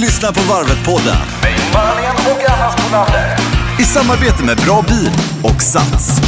lyssnar på Varvet-podden i samarbete med Bra Bil och Sats.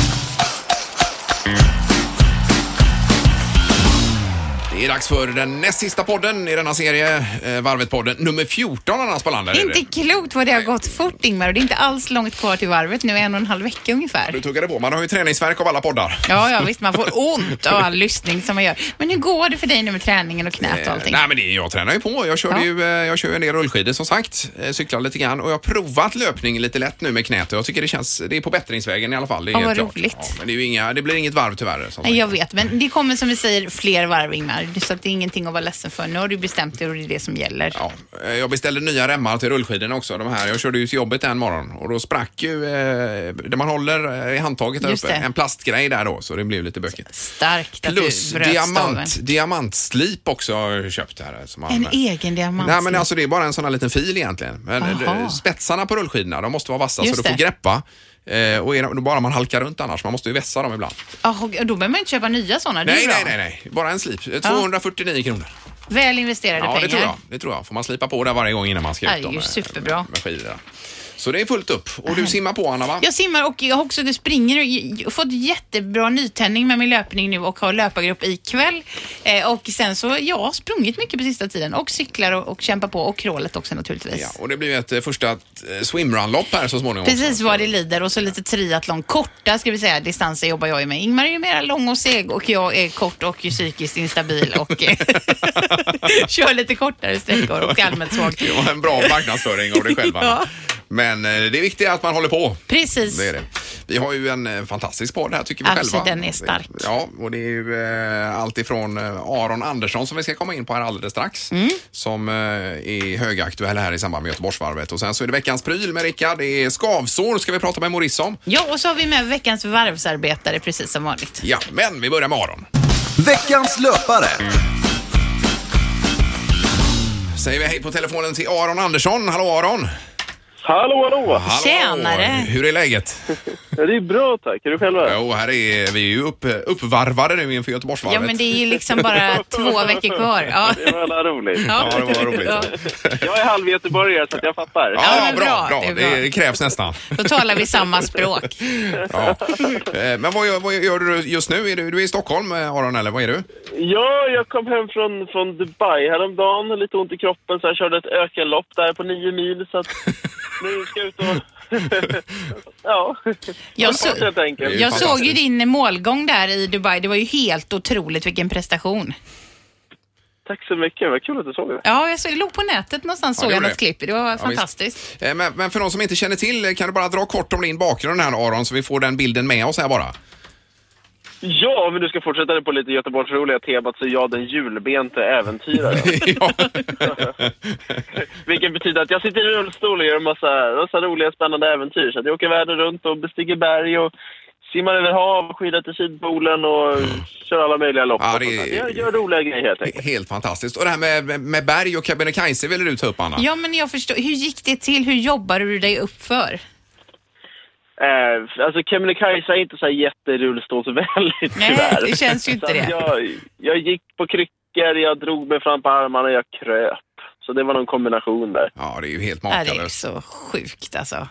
Det är dags för den näst sista podden i denna serie, eh, Varvet-podden. Nummer 14 Anna Spalander. är det. Inte klokt vad det har gått fort Ingmar och det är inte alls långt kvar till varvet nu, en och en halv vecka ungefär. Du tuggade på. Man har ju träningsverk av alla poddar. Ja, ja visst man får ont av all lyssning som man gör. Men hur går det för dig nu med träningen och knät och Eh, allting? Nej men det, jag tränar ju på. Jag kör, Ja. ju, eh, jag kör ju en del rullskidor som sagt. Eh, Cyklar lite grann och jag har provat löpning lite lätt nu med knät och jag tycker det känns, det är på bättringsvägen i alla fall. Det är Ja, helt vad klart. roligt. Ja, men det, är ju inga, det blir inget varv tyvärr. Som Nej, sagt. jag vet, men det kommer som vi säger fler varv Ingmar. Så att det är ingenting att vara ledsen för. Nu har du bestämt dig och det är det som gäller. Ja, eh, jag beställde nya remmar till rullskidorna också. De här. Jag körde ju till jobbet en morgon och då sprack ju eh, det man håller eh, i handtaget där Just uppe. det. En plastgrej där då så det blev lite bökigt. Starkt att Plus du bröt diamant, staven. diamantslip också har jag köpt här. Som man, En egen diamant. Nej men alltså det är bara en sån här liten fil egentligen. Men Aha. eh, spetsarna på rullskidorna de måste vara vassa Just så du får det. greppa. Eh, och är de, bara man halkar runt annars. Man måste ju vässa dem ibland. Ja, och då behöver man inte köpa nya sådana. Det är Nej, bra. nej, nej, nej. Bara en slip. Eh, 249 kronor. Väl investerade Ja, pengar. det tror jag. Det tror jag. Får man slipa på där varje gång innan man ska Ja, ut det är dem ju med- superbra. med skidorna. Så det är fullt upp. Och du simmar på Anna va? Jag simmar och jag har också du springer och jag har fått jättebra nytändning med min löpning nu och har löpargrupp ikväll. Eh, och sen så, jag har sprungit mycket på sista tiden och cyklar och, och kämpar på och crawlet också naturligtvis. Ja, och det blir ju ett eh, första eh, swimrun-lopp här så småningom. Precis också. vad det lider och så lite triathlon. Korta ska vi säga distanser jobbar jag ju med. Ingmar är ju mera lång och seg och jag är kort och ju psykiskt instabil och eh, kör lite kortare sträckor och allmänt svag. Det var en bra marknadsföring av dig själv Anna. Ja. Men eh, det viktiga är att man håller på. Precis. Det är det. Vi har ju en eh, fantastisk podd här tycker vi Alltså, själva. den är stark. Ja, och det är ju eh, allt ifrån eh, Aron Andersson som vi ska komma in på här alldeles strax. Mm. Som eh, är högaktuell här i samband med Göteborgsvarvet. Och sen så är det veckans pryl med Rickard. Det är skavsår ska vi prata med Morris om. Ja, och så har vi med veckans varvsarbetare precis som vanligt. Ja, men vi börjar med Aron. Veckans löpare. Säger vi hej på telefonen till Aron Andersson. Hallå Aron! Hallå, hallå! Hallå. Tjenare. Hur är läget? Ja, Det är bra tack, är du själv här? Jo, här är vi är ju upp, uppvarvade nu inför Göteborgsvarvet. Ja, men det är ju liksom bara två veckor kvar. Ja. Det var jävla roligt. Ja, det var roligt. Ja. Jag är halvgöteborgare så att jag fattar. Ja, men bra, bra, bra. det är Det, bra. krävs nästan. Då talar vi samma språk. Ja. Eh, Men vad gör, vad gör du just nu? Är du, du är i Stockholm, eh, Aron, eller vad är du? Ja, jag kom hem från, från Dubai häromdagen, lite ont i kroppen så jag körde ett ökenlopp där på nio mil så att nu ska jag ut och... ja, Jag, så, helt enkelt. jag såg ju fantastiskt. din målgång där i Dubai. Det var ju helt otroligt vilken prestation. Tack så mycket, vad kul att du såg det. Ja, jag såg, låg på nätet någonstans Ja, såg det jag gjorde något det. klipp. Det var visst. fantastiskt. Eh, Men, men för de som inte känner till, eh, kan du bara dra kort om din bakgrund här, Aron, så vi får den bilden med oss här bara? Ja, om vi nu ska fortsätta det på lite Göteborgsroliga temat så är jag den julbente äventyraren. ja. Vilket betyder att jag sitter i rullstol och gör en massa, massa roliga spännande äventyr. Så att jag åker världen runt och bestiger berg och simmar över hav, skidar till Sydpolen och kör alla möjliga lopp. Ja, och det sånt där. är- Jag gör roliga grejer helt enkelt. Helt fantastiskt. Och det här med, med berg och Kebnekaise ville du ta upp, Anna? Ja, men jag förstår. Hur gick det till? Hur jobbade du dig upp för? Eh, alltså Kebnekaise är inte så här jätterullstolsvänligt Nej, tyvärr. det känns ju Så inte att det. jag, jag gick på kryckor, jag drog mig fram på armarna och jag kröp. Så det var någon kombination där. Ja, det är ju helt Ja, Det är ju makalöst. så sjukt alltså.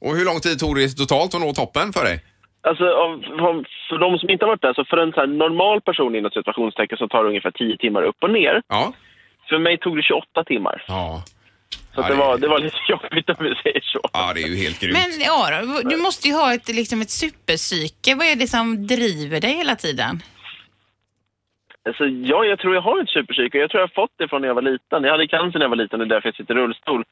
Och hur lång tid tog det totalt att nå toppen för dig? Alltså, av, av, för de som inte har varit där, så för en så här normal person inom situationstecken så tar det ungefär 10 timmar upp och ner. Ja. För mig tog det 28 timmar. Ja. Så att det, Ja, det- var, det var lite jobbigt om vi säger så. ja, det är ju helt grymt. Men ja, du måste ju ha ett, liksom ett superpsyke. Vad är det som driver dig hela tiden? Alltså, ja, jag tror jag har ett superpsyke. Jag tror jag har fått det från när jag var liten. Jag hade cancer när jag var liten och det är därför jag sitter i rullstol.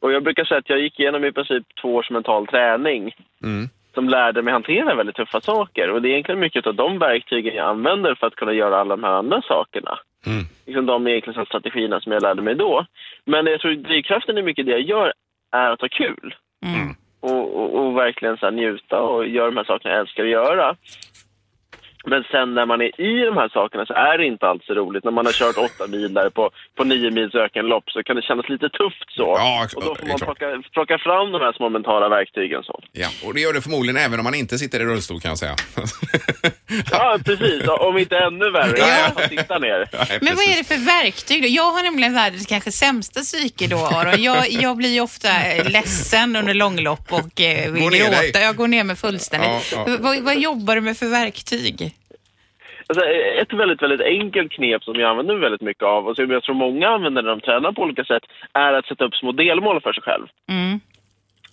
Och jag brukar säga att jag gick igenom i princip två års mental träning. Som lärde mig hantera väldigt tuffa saker. Och det är egentligen mycket av de verktygen jag använder för att kunna göra alla de här andra sakerna. Mm. Liksom de egentligen så här strategierna som jag lärde mig då. Men jag tror drivkraften i mycket det jag gör är att ha kul. Mm. Och, och, och verkligen så här njuta och göra de här sakerna jag älskar att göra. Men sen när man är i de här sakerna så är det inte alls så roligt. När man har kört åtta miler på, på nio mils ökenlopp så kan det kännas lite tufft så. Ja, och då får det är man klart. plocka, plocka fram de här små mentala verktygen. Så. Ja, och det gör det förmodligen även om man inte sitter i rullstol kan jag säga. Ja, precis. Ja, Om inte ännu värre. Ja. Ja. Titta ner. Men vad är det för verktyg då? Jag har nämligen världens kanske sämsta psyke då, Aron. Jag, jag blir ju ofta eh, ledsen under långlopp och eh, vill Går ner dig. gråta. Jag går ner mig fullständigt. Ja, ja. Vad, vad jobbar du med för verktyg? Alltså, ett väldigt, väldigt enkelt knep som jag använder mig väldigt mycket av och som jag tror många använder när de tränar på olika sätt är att sätta upp små delmål för sig själv. Mm.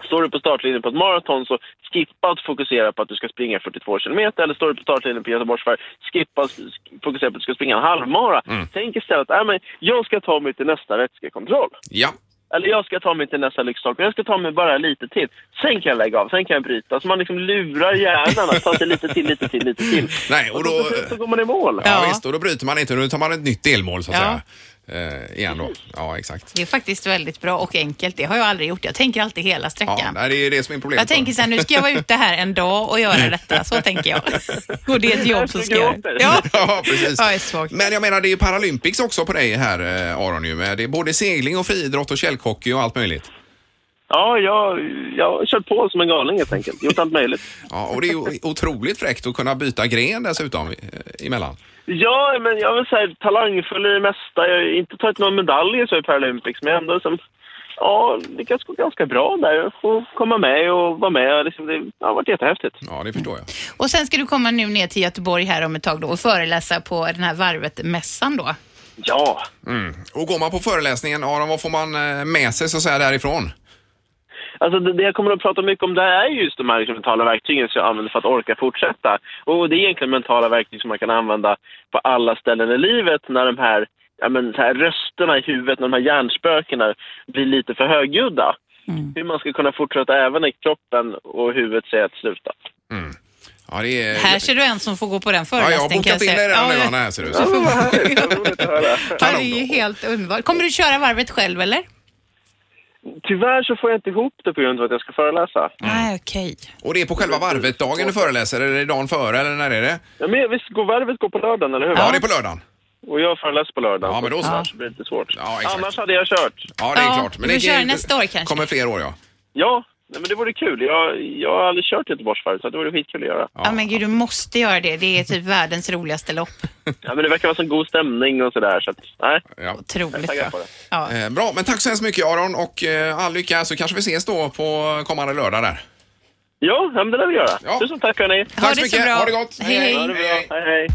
Står du på startlinjen på ett maraton så skippa att fokusera på att du ska springa 42 kilometer. Eller står du på startlinjen på Göteborgsvarv, skippa att sk- fokusera på att du ska springa en halvmara. Mm. Tänk istället att äh, men jag ska ta mig till nästa vätskekontroll. Ja, Eller jag ska ta mig till nästa lyxstolpe. Jag ska ta mig bara lite till. Sen kan jag lägga av, sen kan jag bryta. Så man liksom lurar hjärnan att ta sig lite till, lite till, lite till. Nej, och då- så, så, så går man i mål. ja, Ja. visst. Och då bryter man inte, då tar man ett nytt delmål så att Ja. säga. Eh, igen då. Ja, exakt. Det är faktiskt väldigt bra och enkelt. Det har jag aldrig gjort. Jag tänker alltid hela Ja, sträckan. nej, det är det som är problemet. jag tänker så här, nu ska jag vara ute här en dag och Mm. göra detta. Så tänker jag. Går det ett jobb så ska jag Gråter. Ja, Ja, precis. jag är svag. Men jag menar, det är ju Paralympics också på dig här, eh, Aron. Ju. med. Det är både segling och friidrott och källhockey och allt möjligt. Ja, jag, jag har kört på som en galning helt enkelt. Gjort allt möjligt. Ja, och det är ju otroligt fräckt att kunna byta gren dessutom eh, emellan. Ja, men jag vill säga talangfull i det mesta. Jag har ju inte tagit några medaljer så i Paralympics, men jag har ändå som... Ja, det kanske går ganska bra där. Jag får komma med och vara med. Liksom, Det har varit jättehäftigt. Ja, det förstår jag. Och sen ska du komma nu ner till Göteborg här om ett tag då och föreläsa på den här Varvet-mässan då. Eh, Ja, Och går man på föreläsningen, Aron, vad får man eh, med sig så att säga därifrån? Alltså det, det jag kommer att prata mycket om det här är just de här liksom, mentala verktygen som jag använder för att orka fortsätta. Och det är egentligen mentala verktyg som man kan använda på alla ställen i livet när de här, ja, men, så här rösterna i huvudet, när de här hjärnspökena blir lite för högljudda. Mm. Hur man ska kunna fortsätta även när kroppen och huvudet säger att sluta. Ja, det är... Här ser du en som får gå på den ja, jag har föreläsningen kan bokat in säga. dig redan nu, ja, Anna, här ser du. Ja, vad härligt. Vad roligt att höra. Ja, det Kanon. är ju helt underbart. Kommer du köra varvet själv eller? Tyvärr så får jag inte ihop det på grund av att jag ska föreläsa. Nej, okej. Och det är på själva varvet-dagen du föreläser, eller är det dagen före, eller när är det? Ja, men visst går varvet går på lördagen, eller hur? Ja, det är på lördagen. Och jag föreläser på lördagen. Ja, men då så. annars blir det lite svårt. Ja, exakt. Annars hade jag kört. Ja, det är Ja, klart. vi det kör nästa år kanske. kommer fler år, ja. Ja, nej, men det vore kul. Jag, jag har aldrig kört Göteborgsvarvet så det vore skitkul att göra. Ja. men gud, du måste göra det. Det är typ världens roligaste lopp. Ja, men det verkar vara sån god stämning och sådär så att, nej, ja. jag är Otroligt taggad bra. på det. Ja. Eh, bra, men tack så hemskt mycket, Aron, och eh, all lycka så kanske vi ses då på kommande lördag där. Ja, ja men det lär vi göra. Ja. Tusen tack hörni. Ha Tack så det så mycket, bra. ha det gott. Hej, hej. Ha det bra. Hej, hej.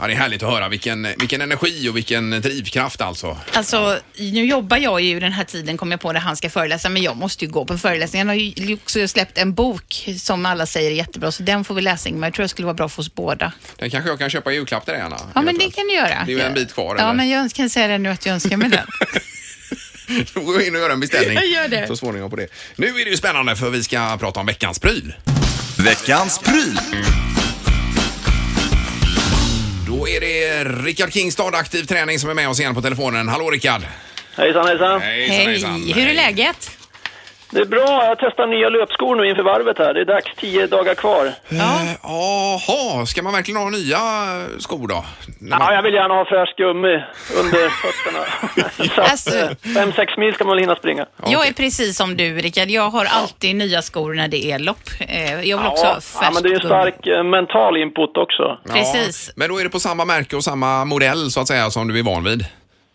Ja, det är härligt att höra vilken, vilken energi och vilken drivkraft alltså. Alltså, nu jobbar jag ju den här tiden, kommer jag på, när han ska föreläsa, men jag måste ju gå på föreläsningen. Han har ju också släppt en bok som alla säger är jättebra, så den får vi läsa, Ingmar. Jag tror jag skulle vara bra för oss båda. Den kanske jag kan köpa i julklapp till dig, Anna. Ja, men det kan du göra. Det är ju en bit kvar, Ja, eller? men jag kan säga det nu att jag önskar mig den. Då går jag in och gör en beställning. Jag gör det. Så småningom på det. Nu är det ju spännande för vi ska prata om veckans pryl. Veckans pryl. Då är det Rickard Kingstad, aktiv träning, som är med oss igen på telefonen. Hallå Rickard! Hejsan, hejsan. Hejsan, Hej, hur är läget? Det är bra. Jag testar nya löpskor nu inför varvet här. Det är dags. Tio dagar kvar. Eh, Jaha, ska man verkligen ha nya eh, skor då? När man- Ja, jag vill gärna ha fräsch gummi under fötterna. så att, Alltså. eh, fem, sex mil ska man väl hinna springa. Jag är precis som du, Rickard. Jag har alltid nya skor när det är lopp. Eh, Jag vill också ha färskt ja, men det är en gummi. stark eh, mental input också. Precis. Ja, men då är det på samma märke och samma modell så att säga som du är van vid?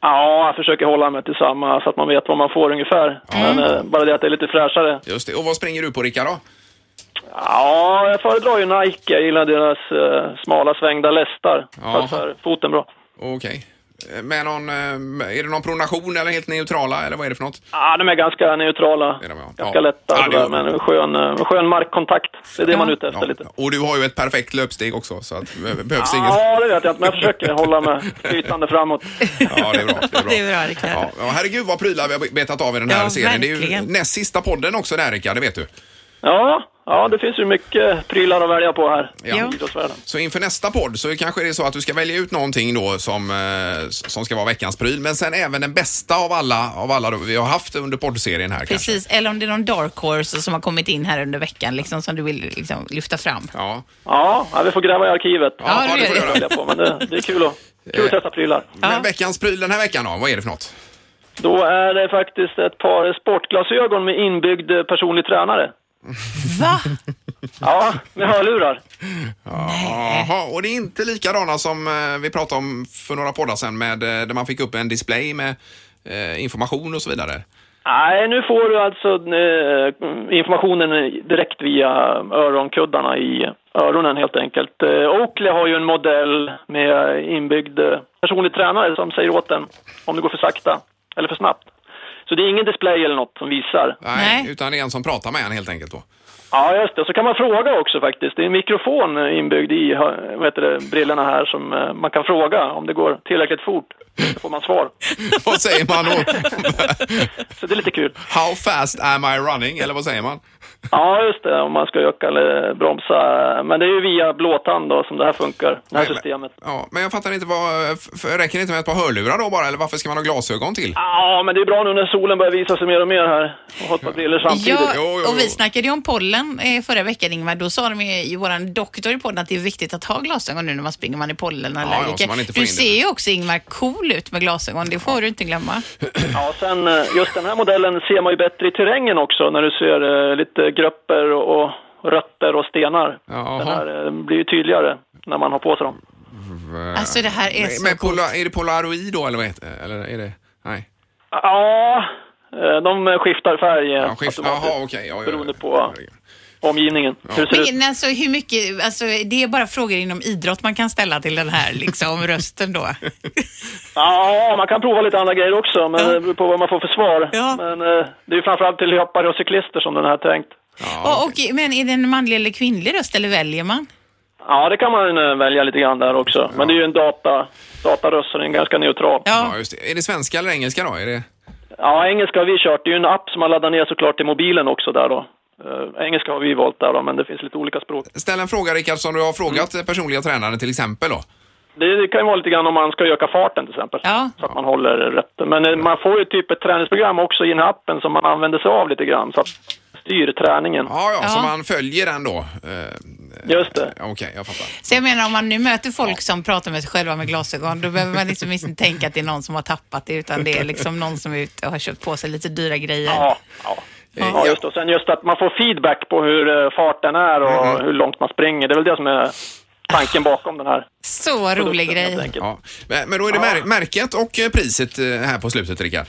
Ja, jag försöker hålla mig till samma så att man vet vad man får ungefär. Men eh, bara det att det är lite fräschare. Just det. Och vad springer du på Rickard då? Ja, jag föredrar ju Nike. Jag gillar deras eh, smala svängda lästar. Jaha. Passar foten bra. Okej. Eh, Med någon, eh, är det någon pronation eller helt neutrala eller vad är det för något? Ja, de är ganska neutrala. Är de, ja. Ganska Ja. lätta och Ja, det sådär, är de. men skön, eh, skön markkontakt. Det är det man är ute efter Ja. lite. Och du har ju ett perfekt löpsteg också så att eh, behövs inget. Ja, det vet jag inte, men jag försöker hålla mig flytande framåt. Ja, det är bra. Det är bra. Det är bra, Rickard. Ja, ja, herregud vad prylar vi har betat av i den här Ja, serien. Det är ju verkligen. näst sista podden också där Rickard, det vet du. Ja, ja, det finns ju mycket prylar att välja på här Ja. i idrottsvärlden. Så inför nästa podd så kanske det är så att du ska välja ut någonting då som, eh, som ska vara veckans pryl. Men sen även den bästa av alla, av alla då vi har haft under poddserien här kanske. Precis, eller om det är någon dark horse som har kommit in här under veckan liksom, som du vill liksom, lyfta fram. Ja. Ja, ja, vi får gräva i arkivet. Ja, ja, det det får gör du det. välja göra. på, men det, det är kul att, kul att testa prylar. Ja. Men veckans pryl den här veckan då, vad är det för något? Då är det faktiskt ett par sportglasögon med inbyggd eh, personlig tränare. Va? Ja, med hörlurar. Eh. Jaha, och det är inte likadana som eh, vi pratade om för några poddar sedan med, eh, där man fick upp en display med eh, information och så vidare. Nej, nu får du alltså eh, informationen direkt via öronkuddarna i öronen helt enkelt. Eh, Oakley har ju en modell med inbyggd eh, personlig tränare som säger åt den om det går för sakta eller för snabbt. Så det är ingen display eller något som visar. Nej, Nej. utan det är en som pratar med en helt enkelt då. Ja, just det. Så kan man fråga också faktiskt. Det är en mikrofon eh, inbyggd i hö- vad heter det, brillorna här som eh, man kan fråga om det går tillräckligt fort. Då får man svar. Vad säger man då? Så det är lite kul. How fast am I running? Eller vad säger man? Ja, just det. Om man ska öka eller bromsa. Men det är ju via blåtand då som det här funkar, det här systemet. Ja, men jag fattar inte, vad, f- f- räcker det inte med ett par hörlurar då bara? Eller varför ska man ha glasögon till? Ja, men det är bra nu när solen börjar visa sig mer och mer här. Och ha ett par brillor samtidigt. Ja, Jo, jo, jo. och vi snackade ju om pollen eh, förra veckan Ingmar. Då sa de ju, ju våran doktor i podden att det är viktigt att ha glasögon nu när man springer, man är Ja, ja, pollenallergiker. så man inte får du in det. ser ju också Ingmar cool ut med glasögon, det får du inte glömma. Ja, sen eh, just den här modellen ser man ju bättre i terrängen också när du ser eh, lite grupper och och rötter och stenar. Jaha. Den här eh, blir ju tydligare när man har på sig dem. Alltså det här är Men- så men coolt. pola, är det polaroid då eller vad heter det? Eller är det? Nej. Ja, eh, de skiftar färg eh, ja, Ja, skift, jaha, okej. Ja, ja, ja. beroende på omgivningen. Hur ser det ut? Men alltså hur mycket, alltså det är bara frågor inom idrott man kan ställa till den här liksom rösten då. Ja, man kan prova lite andra grejer också, men Ja. det beror på vad man får för svar. Ja. Men eh, det är ju framförallt till löpare och cyklister som den här är tänkt. och, och, men är det en manlig eller kvinnlig röst eller väljer man? Ja, det kan man eh, välja lite grann där också. Men det är ju en data, dataröst, så den är ganska neutral. Ja. Ja, just det. Är det svenska eller engelska då? Är det? engelska har vi kört. Det är ju en app som man laddar ner såklart till mobilen också där då. Eh, engelska har vi valt där då, men det finns lite olika språk. Ställ en fråga Rickard som du har frågat eh, personliga tränaren till exempel då. Det, det kan ju vara lite grann om man ska öka farten till exempel. Ja. Så att man håller rätt. Men eh, man får ju typ ett träningsprogram också i den här appen som man använder sig av lite grann. Så att styr träningen. Ja, ja, så Ja. man följer den då. Eh, eh, Just det. Okej, jag fattar. Så jag menar om man nu möter folk som pratar med sig själva med glasögon, då behöver man liksom inte tänka att det är någon som har tappat det, utan det är liksom någon som är ute och har köpt på sig lite dyra grejer. Ja, ja. Eh, ja just det. Och sen just att man får feedback på hur eh, farten är och Mm-hmm. hur långt man springer. Det är väl det som är tanken bakom den här Så rolig produkten, helt grej. enkelt. Ja. Men, men då är det mär- märket och eh, priset eh, här på slutet Rickard.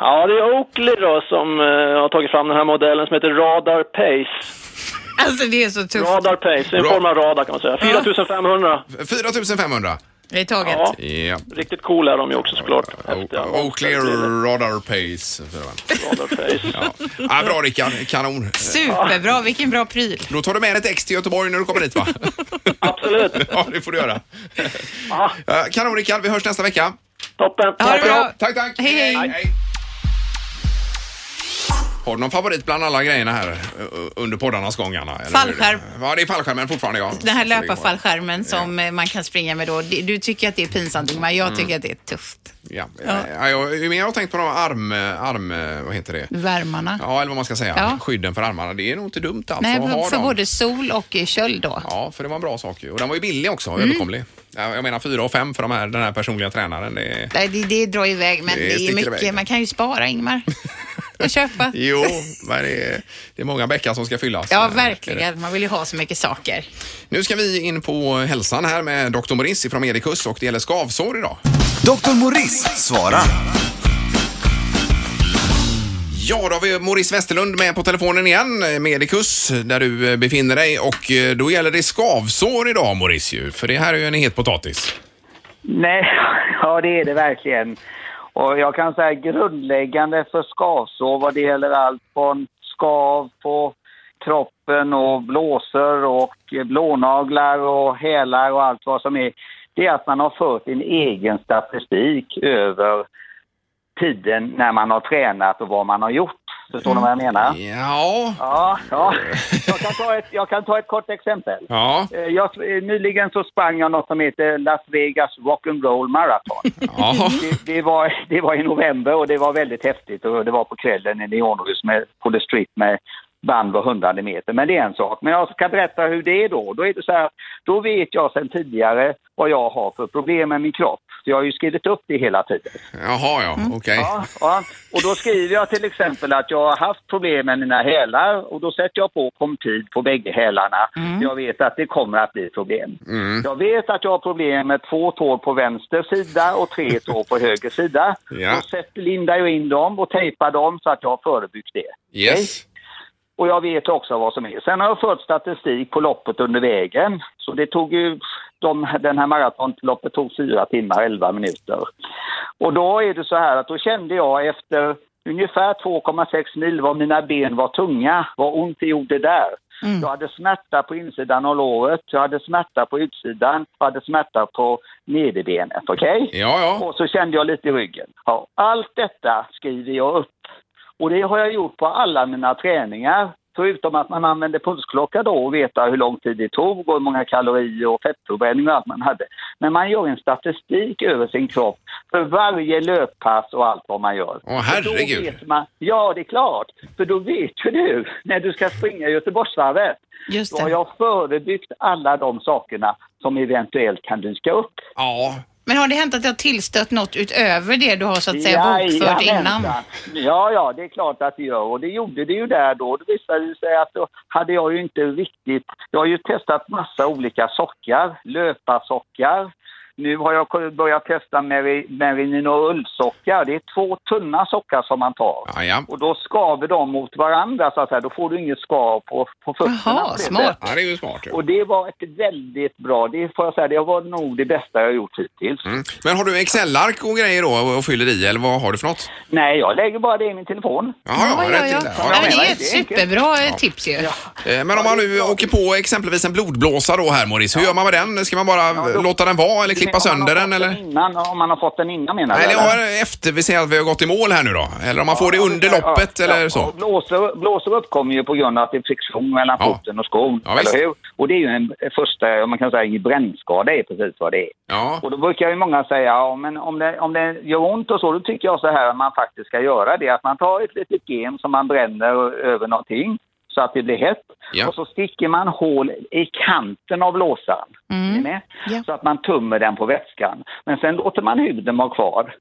Ja, det är Oakley då som eh, har tagit fram den här modellen som heter Radar Pace. Alltså det är så tufft. Radar Pace, det är en Bra. form av radar kan man säga. 4500. 4500. Det är taget. Ja, Ja. riktigt cool är de ju också såklart. Häftiga. O- Oakley Radar Pace. för fan. Radar Pace. Ja. Ja, bra Rickard, kanon. Eh, Superbra, vilken bra pryl. Då tar du med ett ex till Göteborg när du kommer hit va? Absolut. ja, det får du göra. Ja, Eh, Kanon Rickard, vi hörs nästa vecka. toppen. Ha det bra. Tack, tack. Hej, hej. Har du någon favorit bland alla grejerna här eh, under poddarnas gång, Anna? Eller hur? Fallskärm. Ja, det är fallskärmen fortfarande, ja. Den här Så det går. löparfallskärmen som eh, man kan springa med då. det- Du tycker att det är pinsamt Ingmar, jag Mm. tycker att det är tufft. Ja. Ja. jag- Ju mer jag har tänkt på de här arm... eh, arm vad heter det? Värmarna. Ja, eller vad man ska säga. Ja. Skydden för armarna. Det är nog inte dumt alltså Nej, att ha för, för dem. både sol och eh, köld då. Ja, för det var en bra sak ju. Och den var ju billig också, Mm. överkomlig. Ja, Jag menar fyra och fem för de här, den här personliga tränaren. Det är... Nej, Det, det drar iväg, men Det det, är sticker mycket. iväg. Man kan ju spara Ingmar och köpa. Jo, men det är, det är många bäckar som ska fyllas. Ja, Eh, är det. verkligen. Man vill ju ha så mycket saker. Nu ska vi in på hälsan här med Dr. Morris från Medicus och det gäller skavsår idag. Dr. Morris svarar. Ja, då har vi Morris Westerlund med på telefonen igen, eh, Medicus, där du eh, befinner dig. Och eh, då gäller det skavsår idag, Morris, ju, för det här är ju en het potatis. Nej, ja det är det verkligen. Och jag kan säga grundläggande för skavsår vad det gäller allt från skav på kroppen och blåsor och blånaglar och hälar och allt vad som är. Det är att man har fört en egen statistik över tiden när man har tränat och vad man har gjort. Förstår ni vad jag menar? Mm. Ja. Ja, ja. Jag, kan ta ett, jag kan ta ett kort exempel. Ja. Eh, Jag, eh, nyligen så sprang jag något som heter Las Vegas Rock'n'Roll Marathon. Ja. Det, det, var, det var i november och det var väldigt häftigt och det var på kvällen i neonljus med på The Strip med band var hundrade meter. Men det är en sak. Men jag ska berätta hur det är då. Då är det så här att då vet jag sedan tidigare vad jag har för problem med min kropp. Så jag har ju skrivit upp det hela tiden. Jaha, ja. Okej. Ja, ja. Och då skriver jag till exempel att jag har haft problem med mina hälar och då sätter jag på Comtid på bägge hälarna. Jag vet att det kommer att bli problem. Mm. Jag vet att jag har problem med två tår på vänster sida och tre tår på höger sida. Ja. Då sätter lindar jag in dem och tejpar dem så att jag har förebyggt det. Yes. Och jag vet också vad som är. Sen har jag fört statistik på loppet under vägen. Så det tog ju, de, den här maratonloppet tog fyra timmar, 11 minuter. Och då är det så här att då kände jag efter ungefär 2,6 mil var mina ben var tunga, vad ont det gjorde där. Jag hade smärta på insidan av låret, jag hade smärta på utsidan, jag hade smärta på nederbenet, okej? Ja, ja. Och så kände jag lite i ryggen. Ja, allt detta skriver jag upp. Och det har jag gjort på alla mina träningar. Förutom att man använde pulsklocka då och veta hur lång tid det tog och hur många kalorier och fettförbränning och allt man hade. Men man gör en statistik över sin kropp för varje löppass och allt vad man gör. Åh, För då herregud. vet man, ja, det är klart. För då vet ju du när du ska springa Göteborgsvarvet. Just Då har det. jag förebyggt alla de sakerna som eventuellt kan dyka upp. Ja. Men har det hänt att det har tillstött något utöver det du har så att säga bokfört Jajamensan. innan? Ja, ja, det är klart att det gör. Och det gjorde det ju där då. Det visade det sig att då hade jag ju inte riktigt... Jag har ju testat massa olika sockar, löparsockar. Nu har jag börjat testa Meri- Merino ullsockar. Det är två tunna sockar som man tar. Ja, ja. Och då skaver de mot varandra så att säga. Då får du inget skav på, på fötterna. Jaha, på det smart. sättet. Ja, det är ju smart. ju. Och det var ett väldigt bra, det får jag säga, det var nog det bästa jag har gjort hittills. Mm. Men har du Excel-ark och grejer då och fyller i eller vad har du för något? Nej, jag lägger bara det i min telefon. Jaha, ja, rätt till det. Nej, men det är Ja, ett det är enkelt. superbra eh, tips ju. Eh, Men om man nu åker på exempelvis en blodblåsa då här Maurice, hur gör man med den? Ska man bara då- låta den vara eller klippa Om man har sönder fått den eller? Innan, om man har fått den innan menar Nej, du? Eller har efter vi säger att vi har gått i mål här nu då? Eller om man får det under loppet ja, eller ja, så? och Blåsor, blåsor uppkommer ju på grund av att det är friktion mellan Ja. foten och skon. Ja, visst. eller hur? Och det är ju en eh, första, man kan säga, en brännskada är precis vad det är. Ja, Och då brukar ju många säga, ja men om det, om det gör ont och så, då tycker jag så här att man faktiskt ska göra det. Att man tar ett litet gem som man bränner över någonting så att det blir hett. Ja. Och så sticker man hål i kanten av blåsan. Är ni med? Ja. Så att man tummer den på vätskan. Men sen låter man huden vara kvar.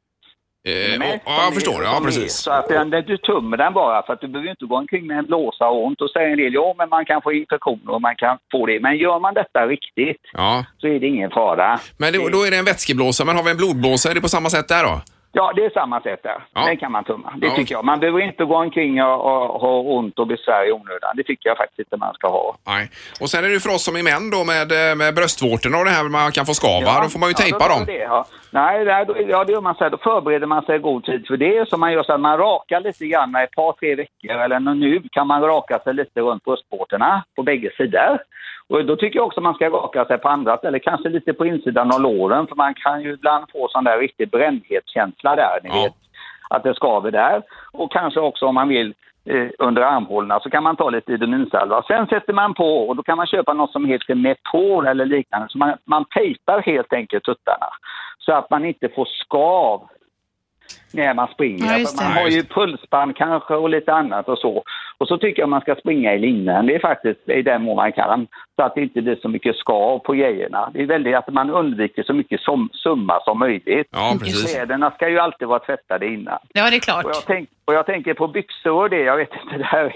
eh, Nej, och, ja jag som förstår. är- Ja, som är. precis. Så att den, den, du tummer den bara, för att du behöver ju inte gå omkring med en blåsa och ont. Och säger en del, ja men man kan få infektioner och man kan få det. Men gör man detta riktigt Ja. så är det ingen fara. Men det, då är det en vätskeblåsa, men har vi en blodblåsa, är det på samma sätt där då? Ja, det är samma sätt där. Ja. Den kan man tumma. Det Ja. tycker jag. Man behöver inte gå omkring och, och ha ont och besvär i onödan. Det tycker jag faktiskt inte man ska ha. Nej. Och sen är det ju för oss som är män då med, eh, med bröstvårtorna och det här man kan få skavar, då får man ju Ja, tejpa då- dem. Det, ja. Nej, det, här- då, ja, det gör man så här. Då förbereder man sig i god tid för det. Så man gör så att man rakar lite grann i ett par, tre veckor eller nå- nu kan man raka sig lite runt bröstvårtorna på bägge sidor. Och då tycker jag också man ska raka sig på andra eller kanske lite på insidan av låren för man kan ju ibland få sån där riktig brännhetskänsla där, ni Ja. vet. Att det skaver där. Och kanske också om man vill eh, under armhålorna så kan man ta lite idominsalva. Sen sätter man på och då kan man köpa något som heter Metol eller liknande. Så man, man tejpar helt enkelt tuttarna så att man inte får skav när man springer. Ja, just För man det. har ju pulsband kanske och lite annat och så. Och så tycker jag man ska springa i linnen. Det är faktiskt i den mån man kan. Så att det inte blir så mycket skav på grejerna. Det är väldigt att man undviker så mycket som, summa som möjligt. Ja, precis. Kläderna ska ju alltid vara tvättade innan. Ja, det är Och jag, klart. tänk, och jag tänker på byxor och det, jag vet inte, det här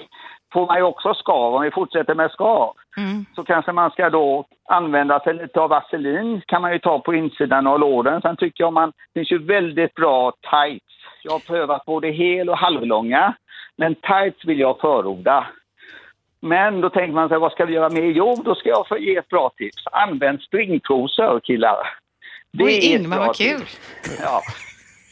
får man ju också skav. Om vi fortsätter med skav Mm. så kanske man ska då använda sig lite av vaselin, kan man ju ta på insidan av låren. Sen tycker jag man, det finns ju väldigt bra tights. Jag har prövat både hel och halvlånga, men tights vill jag förorda. Men då tänker man sig, vad ska vi göra mer? Jo, då ska jag få ge ett bra tips. Använd stringtrosor, killar. Oj, är ett Ingmar, bra vad kul. tips. Ja.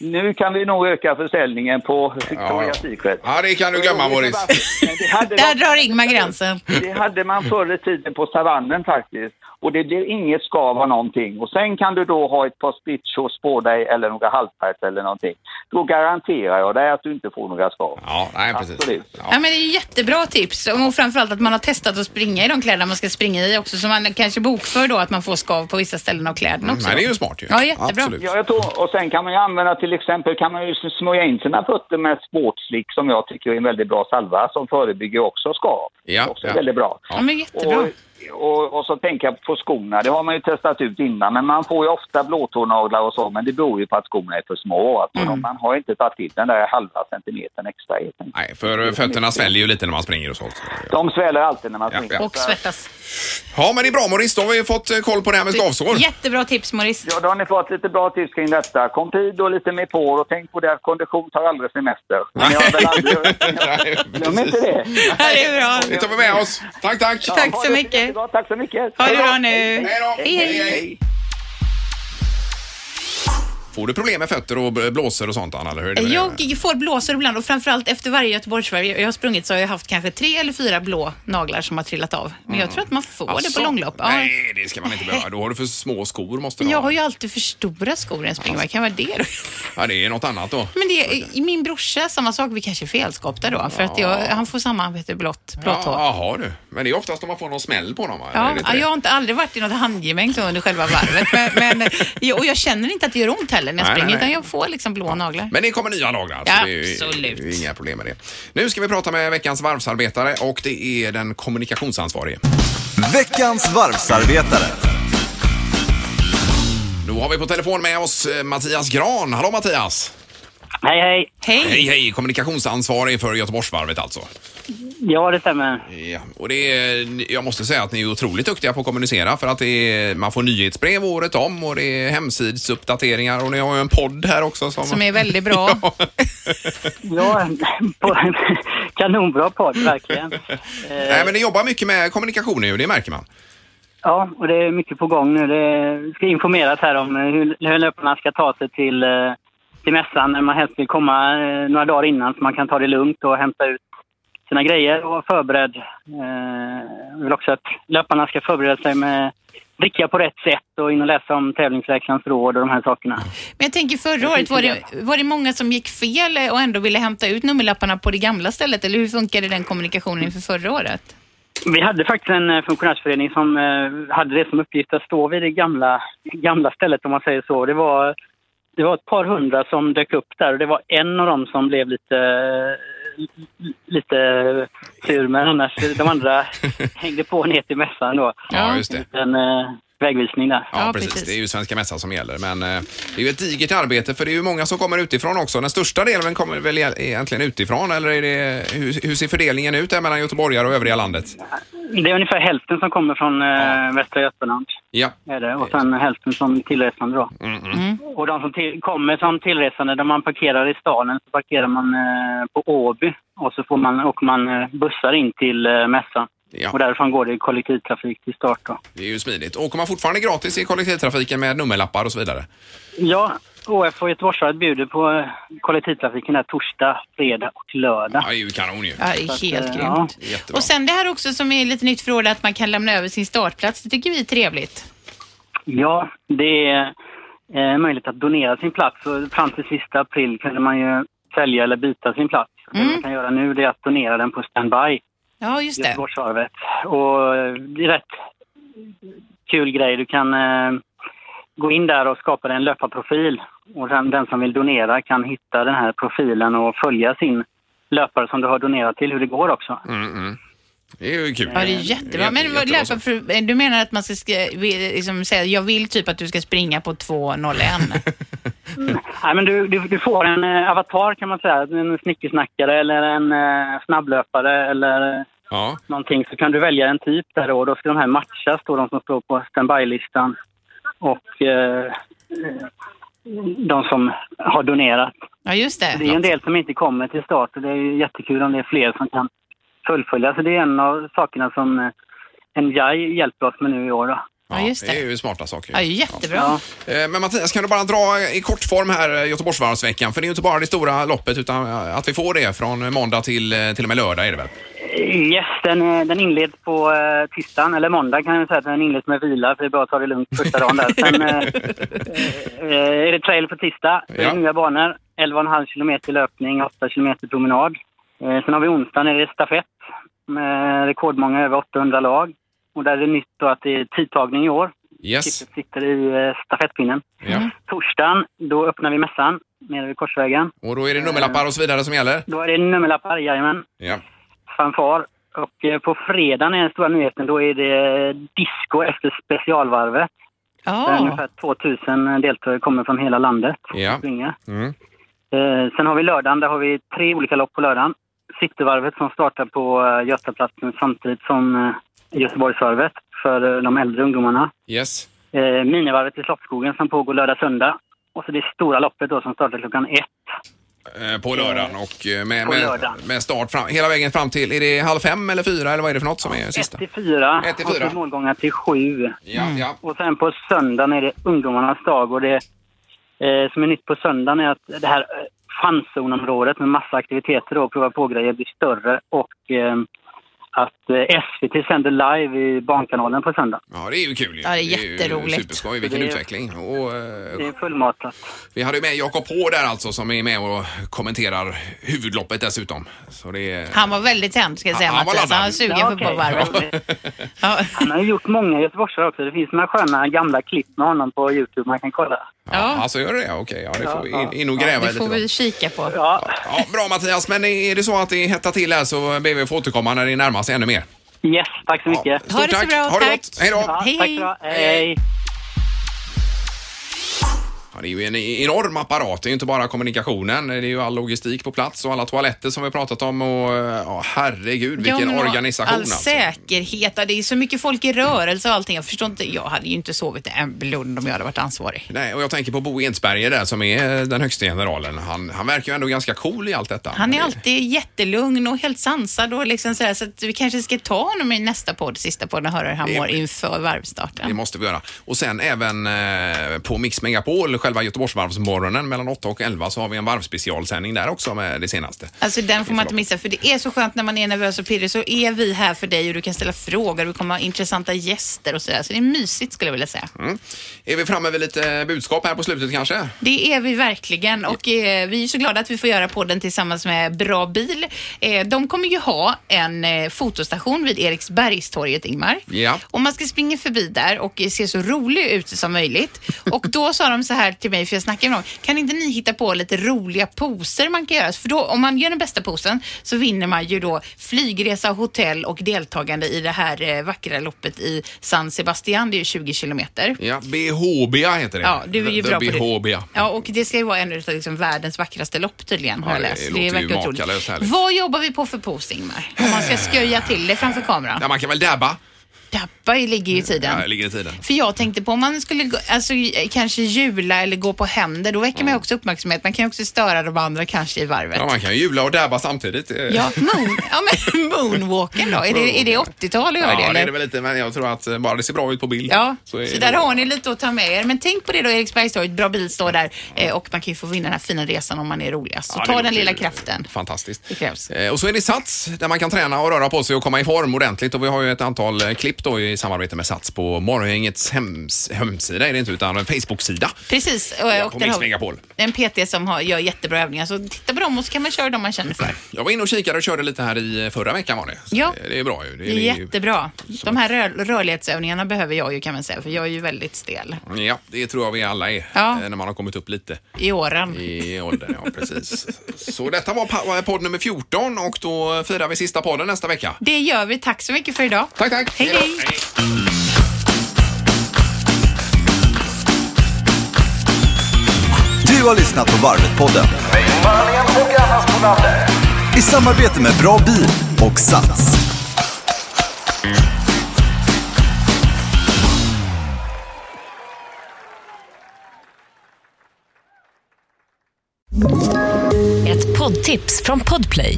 nu kan vi nog öka försäljningen på Victoria's Secret. Ja, det kan du glömma Boris. Men det hade Där varit- drar Ingmar gränsen. Det hade man förr i tiden på savannen faktiskt. Och det blir inget skav av någonting. Och sen kan du då ha ett par splitshorts på dig eller några halvpants eller någonting. Då garanterar jag dig att du inte får några skav. Ja, nej precis. Absolut. Ja, men det är jättebra tips och framförallt att man har testat att springa i de kläder man ska springa i också så man kanske bokför då att man får skav på vissa ställen av kläderna också. Men det är ju smart ju. Ja, jättebra. Absolut. Ja, jag tror, och sen kan man ju använda till exempel kan man ju smörja in sina fötter med sportslick som jag tycker är en väldigt bra salva som förebygger också skav. Ja, också ja. väldigt bra. Ja, men jättebra. Och, och, och så tänka på skorna, det har man ju testat ut innan, men man får ju ofta blåtånaglar och så, men det beror ju på att skorna är för små. Alltså, Mm. de- Man har inte tagit till den där halva centimetern extra. helt enkelt. Nej, för eh, fötterna sväller ju lite när man springer och så. också. De sväller alltid när man Ja, springer. ja. Och svettas. Ja, men det är bra Morris. Då har vi fått eh, koll på det här med skavsår. Jättebra tips Morris. Ja, då har ni fått lite bra tips kring detta. Kom tid och lite mer på och tänk på det att kondition tar aldrig semester. Men jag har väl aldrig... Nej, Glöm inte det. Ja, det är bra. Det tar vi med oss. Tack, tack. Tack. så Ha det mycket. jättebra. Tack så mycket. Ha det Hej då. bra nu. Hej då. Hej, hej. Får du problem med fötter och b- blåsor och sånt, Anna? Eller hur är det med det? Jag får blåsor ibland och framförallt efter varje Göteborgsvarv jag har sprungit så har jag haft kanske tre eller fyra blå naglar som har trillat av. Men Mm. jag tror att man får det Alltså, på långlopp. Ja. Nej, det ska man inte behöva. Då har du för små skor måste du Jag har ha. ju alltid för stora skor i en springvagn. Kan vara det då? Ja, det är något annat då. Men det är, i min brorsa, samma sak. Vi kanske är felskapta då. För att jag, han får samma vet du, blått, blått hår. Ja, har du. Men det är oftast om man får någon smäll på dem, va? Är Ja, det inte ja, det? jag har inte aldrig varit i något handgemäng så under själva varvet. Men, men, ja, och jag känner inte att det gör ont heller när jag Nej, springer, nej, nej. utan jag får liksom blå naglar. Men det kommer nya naglar. Ja, så det är ju- absolut. Det är ju inga problem med det. Nu ska vi prata med veckans varvsarbetare och det är den kommunikationsansvarige. Veckans varvsarbetare. Nu har vi på telefon med oss eh, Mattias Gran. Hallå Mattias! Hej, hej. Hej! Hej hej! Kommunikationsansvarig för Göteborgsvarvet alltså. Ja, det stämmer. Ja, och det är, jag måste säga att ni är otroligt duktiga på att kommunicera för att det är, man får nyhetsbrev året om och det är hemsidsuppdateringar och ni har ju en podd här också. Som, Som är väldigt bra. Ja, på, kanonbra podd, verkligen. Nej Eh, men ni jobbar mycket med kommunikation nu, det märker man. ja, och det är mycket på gång nu. Det ska informeras här om hur, hur löparna ska ta sig till, eh, till mässan när man helst vill komma eh, några dagar innan så man kan ta det lugnt och hämta ut sina grejer och vara förberedd. Eh, jag vill också att löparna ska förbereda sig med dricka på rätt sätt och in och läsa om tävlingsläkarens råd och de här sakerna. Men jag tänker förra året, var det, var det många som gick fel och ändå ville hämta ut nummerlapparna på det gamla stället? Eller hur funkade den kommunikationen inför förra året? Vi hade faktiskt en eh, funktionärsförening som eh, hade det som uppgift att stå vid det gamla, gamla stället om man säger så. Det var, det var ett par hundra som dök upp där och det var en av dem som blev lite, eh, lite sur men annars eh, de andra hängde på ner till mässan då. Ja, just det. En eh, vägvisning där. Ja, Ja, precis. precis. Det är ju Svenska Mässan som gäller. Men eh, det är ju ett digert arbete för det är ju många som kommer utifrån också. Den största delen kommer väl e- egentligen utifrån eller är det, hur, hur ser fördelningen ut där mellan göteborgare och övriga landet? Det är ungefär hälften som kommer från eh, Ja. Västra Götaland. Ja, Är det. Och sen hälften som tillresande då. Mm, Och de som till, kommer som tillresande, när man parkerar i staden så parkerar man eh, på Åby och så får man, åker man eh, bussar in till eh, mässan. Ja. Och därifrån går det kollektivtrafik till start då. det är ju smidigt. Åker man fortfarande gratis i kollektivtrafiken med nummerlappar och så vidare? Ja, OF och Göteborgsvarvet bjuder på eh, kollektivtrafiken här torsdag, fredag och lördag. Ja, det är ju kanon ju. Ja, det är helt eh, grymt. Jättebra. Och sen det här också som är lite nytt för året, att man kan lämna över sin startplats. Det tycker vi är trevligt. Ja, det är eh, möjligt att donera sin plats. Och fram till sista april kunde man ju sälja eller byta sin plats. Det man kan göra nu det är att donera den på standby, Ja, just det. Göteborgsvarvet. Och eh, det är rätt kul grej. Du kan eh, gå in där och skapa dig en löparprofil. Och sen, den som vill donera kan hitta den här profilen och följa sin löpare som du har donerat till, hur det går också. Mm, mm. Det är ju kul. Ja, det är jättebra. Men vad- jättebra löpa, för, eh, du menar att man ska sk- vi- liksom, säga, jag vill typ att du ska springa på 2.01? Nej, men du, du, du får en eh, avatar kan man säga, en snickersnackare eller en eh, snabblöpare eller eh, Ja, någonting. Så kan du välja en typ där då, och då ska de här matchas då, de som står på standby-listan och eh, eh, de som har donerat. Ja, just Det är det. ju en del som inte kommer till start och det är ju jättekul om det är fler som kan fullfölja. Så det är en av sakerna som eh, NJI hjälper oss med nu i år. Då. Ja, just det är det. ju smarta saker. Ja, jättebra. Ja. Eh, Men Mattias, kan du bara dra i kort form här eh, Göteborgsvarvsveckan? För det är ju inte bara det stora loppet utan eh, att vi får det från måndag till, eh, till och med lördag är det väl? Yes, den, eh, den inleds på eh, tisdagen, eller måndag kan jag säga att den inleds med vila, för det är bra att ta det lugnt första dagen där. Sen eh, eh, är det trail på tisdag, så är det Ja. nya banor, 11,5 kilometer löpning, 8 kilometer promenad. Eh, sen har vi onsdagen, är det stafett med rekordmånga över 800 lag. Och där är det nytt då att det är tidtagning i år. Yes. Tippet sitter i eh, stafettpinnen. Mm. Ja. Torsdagen, då öppnar vi mässan nere vid Korsvägen. Och då är det nummerlappar och så vidare som gäller? Då är det nummerlappar, jajamän. Ja. fanfar. Och eh, på fredagen är den stora nyheten, då är det disco efter specialvarvet. Ah. Där Ja, ungefär 2000 deltagare kommer från hela landet. Ja. Springer. Mm. Eh, sen har vi lördagen, där har vi tre olika lopp på lördagen. Cityvarvet som startar på eh, Götaplatsen samtidigt som eh, Göteborgsvarvet för eh, de äldre ungdomarna. Yes. Eh, minivarvet i Slottsskogen som pågår lördag-söndag. Och så det stora loppet då som startar klockan ett. Eh, På lördagen och eh, med, På med, lördagen. med start fram, hela vägen fram till, är det halv fem eller fyra eller vad är det för något som är Ett sista? till fyra. Ett till Och fyra. så målgångar till sju. Ja, ja. Och sen på söndagen är det ungdomarnas dag och det eh, som är nytt på söndagen är att det här eh, fanzonområdet med massa aktiviteter och prova på grejer blir större och eh, att eh, SVT sänder live i Barnkanalen på söndag. Ja, det är ju kul ju. Ja, det är ju jätteroligt. Superskoj, vilken Det är- utveckling. Och, eh, Det är fullmatat. vi hade ju med Jakob H där alltså som är med och kommenterar huvudloppet dessutom. Så det är... han var väldigt hämnd ska jag säga Han var Mattias. laddad. Han var sugen Ja, för okej. popvarvet. Ja. Han har ju gjort många göteborgare också. Det finns några sköna gamla klipp med honom på Youtube man kan kolla. Ja, Ja. alltså gör det? Okej, ja, det får vi in, Ja, in och gräva Det lite. får då. vi kika på. Ja, Ja, bra Mattias, men är det så att det hettar till här så ber vi att få återkomma när det närmar sig ännu mer. yes, tack så mycket. Ja, Ha det så bra, Ha det tack. gott. Hej då. Ja, Hej, tack hej. så bra. Hej. Ja, det är ju en e-, enorm apparat. Det är ju inte bara kommunikationen. Det är ju all logistik på plats och alla toaletter som vi har pratat om. Och, eh, ja, herregud, Ja, vilken men organisation all alltså. säkerhet. Ja, Det är så mycket folk i rörelse och allting. Jag förstår inte. Jag hade ju inte sovit en blund om jag hade varit ansvarig. Nej, och jag tänker på Bo Ensberger där som är den högste generalen. Han, han verkar ju ändå ganska cool i allt detta. Han är Det- alltid jättelugn och helt sansad och liksom sådär, så att vi kanske ska ta honom i nästa podd, sista podden, och höra hur han Det- mår inför Det varvstarten. måste vi göra. Och sen även eh, på Mix Megapol, själva Göteborgsvarvsmorgonen mellan 8 och 11 så har vi en varvsspecialsändning där också med det senaste. Alltså den får man inte missa för det är så skönt när man är nervös och pirrig så är vi här för dig och du kan ställa frågor och vi kommer ha intressanta gäster och sådär. Så det är mysigt skulle jag vilja säga. Mm. Är vi framme vid lite budskap här på slutet kanske? Det är vi verkligen och eh, vi är så glada att vi får göra podden tillsammans med Bra Bil. Eh, de kommer ju ha en eh, fotostation vid Eriksbergstorget, Ingmar. Ja. Och man ska springa förbi där och se så rolig ut som möjligt. Och då sa de så här till mig, för jag snackade med dem, kan inte ni hitta på lite roliga poser man kan göra? För då, om man gör den bästa posen så vinner man ju då flygresa, hotell och deltagande i det här eh, vackra loppet i San Sebastian. Det är ju 20 kilometer. Ja, BHBA heter det. Ja, du är ju The bra på det. BHBA. Ja, och det ska ju vara en av liksom världens vackraste lopp tydligen, har Ja, jag det läst. låter ju verkar otroligt. makalöst härligt. Vad jobbar vi på för pose, Ingmar? Om man ska sköja till det framför kameran. Ja, man kan väl dabba? Dabba ligger ju i tiden. Ja, det ligger i tiden. För jag tänkte på om man skulle gå, alltså, eh, kanske jula eller gå på händer, då väcker man ju också uppmärksamhet. Man kan ju också störa de andra kanske i varvet. Ja, man kan ju jula och dabba samtidigt. Ja, moon, ja men moonwalken då? Är det, är det 80-tal att göra Ja, det eller? är det väl lite, men jag tror att eh, bara det ser bra ut på bild. Ja, så, är där det- har ni lite att ta med er. Men tänk på det då, Eriksbergstorget, bra bil står där eh, och man kan ju få vinna den här fina resan om man är roligast. Så Ja, det ta låter den lilla ju kraften. Fantastiskt. Det krävs. Eh, Och så är det Sats där man kan träna och röra på sig och komma i form ordentligt. Och vi har ju ett antal eh, klipp då i samarbete med Sats på Morgongängets hems- hemsida är det inte utan en Facebook-sida. Precis, och, Ja, och på där Mix har vi Megapol. en PT som har, gör jättebra övningar. Så titta på dem och så kan man köra dem man känner för. Jag var inne och kikade och körde lite här i eh, förra veckan var det. Så Ja. det- Det är bra ju. Det, Det är det ju- jättebra. De här rör, rörlighetsövningarna behöver jag ju kan man säga, för jag är ju väldigt stel Ja, det tror jag vi alla är Ja. eh, när man har kommit upp lite i åren. i åldern. Ja, precis. Så detta var pa- podd nummer 14 och då firar vi sista podden nästa vecka. Det gör vi. Tack så mycket för idag. Tack, tack. Hej, Hejdå. hej. Du har lyssnat på Varvet-podden. I samarbete med Bra Bil och Sats. Ett poddtips från Podplay.